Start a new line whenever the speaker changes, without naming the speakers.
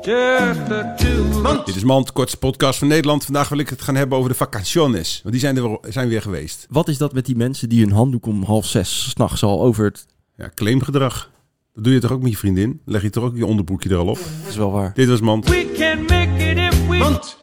Just the two of us.
Dit is Mand, kortste podcast van Nederland. Vandaag wil ik het gaan hebben over de vacationes. Want die zijn er weer, zijn weer geweest.
Wat is dat met die mensen die hun handdoek om half zes s'nachts al over het...
Ja, claimgedrag. Dat doe je toch ook met je vriendin? Leg je toch ook je onderbroekje er al op?
Dat is wel waar.
Dit was Mand.
We can make it if we want.